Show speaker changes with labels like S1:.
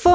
S1: Få